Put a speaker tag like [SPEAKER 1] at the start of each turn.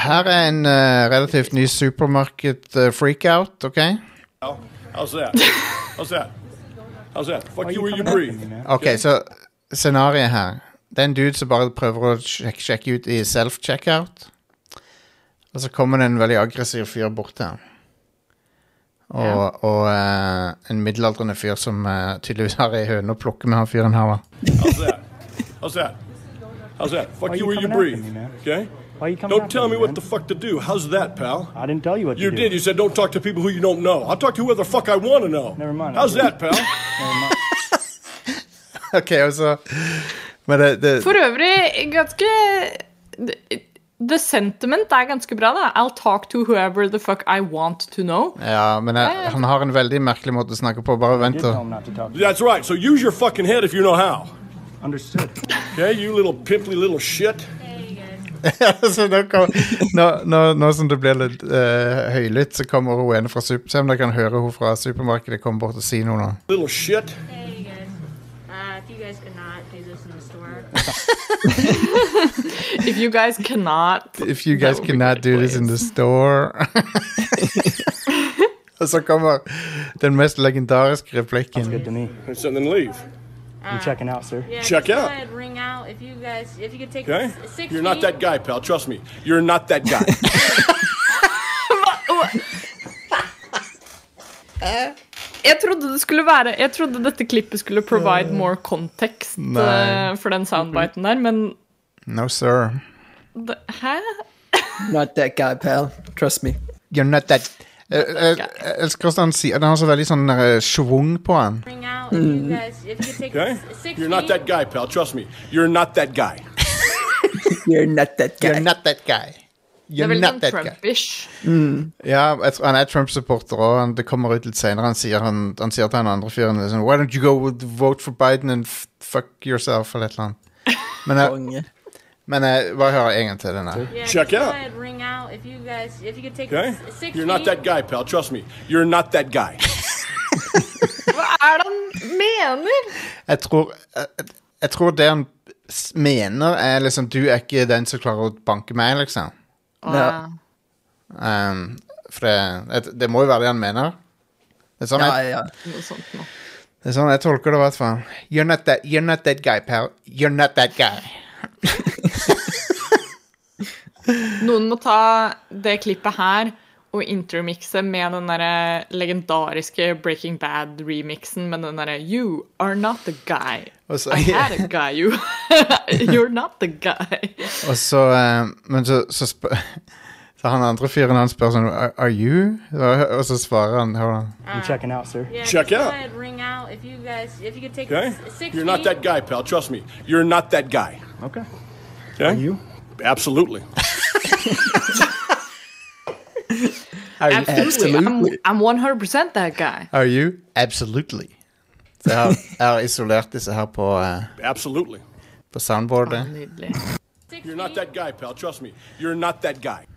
[SPEAKER 1] Her er en eh, relativt ny supermarked eh, freakout, OK?
[SPEAKER 2] Ja, altså jeg. Altså jeg. Altså jeg. Fuck you, you breathe.
[SPEAKER 1] Ok, Så scenarioet her Det er en dude som bare prøver å sjekke, sjekke ut i self-checkout. Og så kommer det en veldig aggressiv fyr bort til ham. Og, og eh, en middelaldrende fyr som eh, tydeligvis har ei høne å plukke med han fyren her. da.
[SPEAKER 2] How's that? How's that? How's that? Fuck
[SPEAKER 3] Why
[SPEAKER 2] you
[SPEAKER 3] you
[SPEAKER 2] or you
[SPEAKER 3] coming after me,
[SPEAKER 2] breathe.
[SPEAKER 3] man?
[SPEAKER 2] Okay?
[SPEAKER 3] Why you coming
[SPEAKER 2] Don't
[SPEAKER 3] after
[SPEAKER 2] tell
[SPEAKER 3] me,
[SPEAKER 2] me what
[SPEAKER 3] man?
[SPEAKER 2] the fuck to do. How's that, pal?
[SPEAKER 3] I didn't tell you what
[SPEAKER 2] You
[SPEAKER 3] to do.
[SPEAKER 2] did. You said don't talk to people who you don't know. I'll talk to whoever the fuck I want to know.
[SPEAKER 3] Never mind, I
[SPEAKER 2] How's
[SPEAKER 3] did.
[SPEAKER 2] that, pal?
[SPEAKER 1] Ok, og så Men det, det
[SPEAKER 4] For øvrig, ganske The sentiment er ganske bra, da. I'll talk to whoever the fuck I want to know.
[SPEAKER 1] Ja, men jeg, han har en veldig merkelig måte å snakke på. Bare
[SPEAKER 3] I
[SPEAKER 1] vent
[SPEAKER 3] did tell
[SPEAKER 1] og
[SPEAKER 3] him not to talk. to you.
[SPEAKER 2] That's right. So use your fucking head if you know how.
[SPEAKER 3] Understood.
[SPEAKER 2] Okay, you little pimply little shit.
[SPEAKER 1] så nå, kom, nå, nå, nå som det blir litt eh, høylytt, så kommer hun ene fra super, Se om dere kan høre hun fra supermarkedet komme bort og si noe nå.
[SPEAKER 2] Little shit.
[SPEAKER 5] Hey, you guys. Uh, if you guys could not do this in the store,
[SPEAKER 4] If you guys cannot
[SPEAKER 1] If you guys
[SPEAKER 4] That would be
[SPEAKER 1] cannot
[SPEAKER 4] great,
[SPEAKER 1] do this in the store Og så kommer den mest legendariske
[SPEAKER 3] Good to
[SPEAKER 1] replikken.
[SPEAKER 3] me.
[SPEAKER 2] And so then leave.
[SPEAKER 5] Uh,
[SPEAKER 3] I'm checking out, sir.
[SPEAKER 5] yeah,
[SPEAKER 2] Check
[SPEAKER 5] just go
[SPEAKER 2] out.
[SPEAKER 5] ahead, Ring out if you guys, if you could take
[SPEAKER 2] Okay?
[SPEAKER 5] s- 6
[SPEAKER 2] You're not
[SPEAKER 5] feet.
[SPEAKER 2] that guy, pal. Trust me. You're not that guy.
[SPEAKER 4] Eh, Jeg trodde det skulle være Jeg trodde dette klippet skulle provide more context
[SPEAKER 1] Eh, Nei.
[SPEAKER 4] eh, for den soundbiten der, men
[SPEAKER 1] No, sir.
[SPEAKER 4] det, Hæ?
[SPEAKER 6] Not that guy, pal. Trust me.
[SPEAKER 1] You're not that Jeg jeg- jeg elsker hvordan han sier Den har så veldig sånn eh, schwung på han.
[SPEAKER 5] Ring out if you guys, if you could take
[SPEAKER 2] Okay?
[SPEAKER 5] s- 6
[SPEAKER 2] You're not that
[SPEAKER 5] feet.
[SPEAKER 2] guy, pal. Trust me. You're not that guy.
[SPEAKER 6] You're not that guy.
[SPEAKER 1] You're not that guy.
[SPEAKER 4] Det er
[SPEAKER 1] You're
[SPEAKER 4] veldig
[SPEAKER 1] not
[SPEAKER 4] sånn
[SPEAKER 1] that guy.
[SPEAKER 4] Trump-ish.
[SPEAKER 1] Ja, jeg tror- han er Trump-supporter òg. Det kommer ut litt senere. Han sier, han, han sier til han andre fyren liksom, Why don't you go with- vote for Biden and f- fuck yourself? Eller et eller annet. Men jeg,
[SPEAKER 6] Konge.
[SPEAKER 1] men jeg bare hører en gang til den her.
[SPEAKER 5] Yeah,
[SPEAKER 2] Check
[SPEAKER 5] just go
[SPEAKER 2] out.
[SPEAKER 5] ahead, Ring out if you guys, if you could take
[SPEAKER 2] Okay?
[SPEAKER 5] s- 6
[SPEAKER 2] You're not
[SPEAKER 5] feet.
[SPEAKER 2] that guy, pal. Trust me. You're not that guy.
[SPEAKER 4] Hva er det han mener?
[SPEAKER 1] Jeg tror, jeg, jeg tror det han s- mener, er liksom Du er ikke den som klarer å banke meg, liksom.
[SPEAKER 6] Ja.
[SPEAKER 1] Um, for det, det, det må jo være det han mener. Det er sånn,
[SPEAKER 6] Ja,
[SPEAKER 1] jeg,
[SPEAKER 6] ja.
[SPEAKER 4] Noe sånt nå.
[SPEAKER 1] det er sånn jeg tolker det, i hvert fall. You're not that, you're not that guy, pal. You're not that guy.
[SPEAKER 4] Noen må ta det klippet her og intermixe med den der eh, legendariske Breaking Bad-remixen med den derre You are not the guy.
[SPEAKER 1] Og så-
[SPEAKER 4] I had a guy, you. You're not the guy.
[SPEAKER 1] Og så eh, Men så, så spør Så han andre fyren han spør sånn Are are you? Og og så svarer han hør da.
[SPEAKER 3] I'm checking out, sir.
[SPEAKER 5] Yeah,
[SPEAKER 2] Check
[SPEAKER 5] just go
[SPEAKER 2] out.
[SPEAKER 5] ahead, Ring out if you guys, if you could take
[SPEAKER 2] Okay?
[SPEAKER 5] s- 6
[SPEAKER 2] You're not that
[SPEAKER 5] feet.
[SPEAKER 2] guy, pal. Trust me. You're not that guy.
[SPEAKER 3] Okay.
[SPEAKER 2] Okay?
[SPEAKER 3] You?
[SPEAKER 2] Absolutely.
[SPEAKER 4] Absolutely. I'm, I'm 100 that guy.
[SPEAKER 1] Are you? Absolutely. Så jeg har, jeg har isolert disse her på, eh,
[SPEAKER 2] Absolutely.
[SPEAKER 1] på soundboardet.
[SPEAKER 4] Nydelig.
[SPEAKER 5] Six
[SPEAKER 2] You're not that
[SPEAKER 5] feet.
[SPEAKER 2] guy, pal. Trust me. You're not that guy.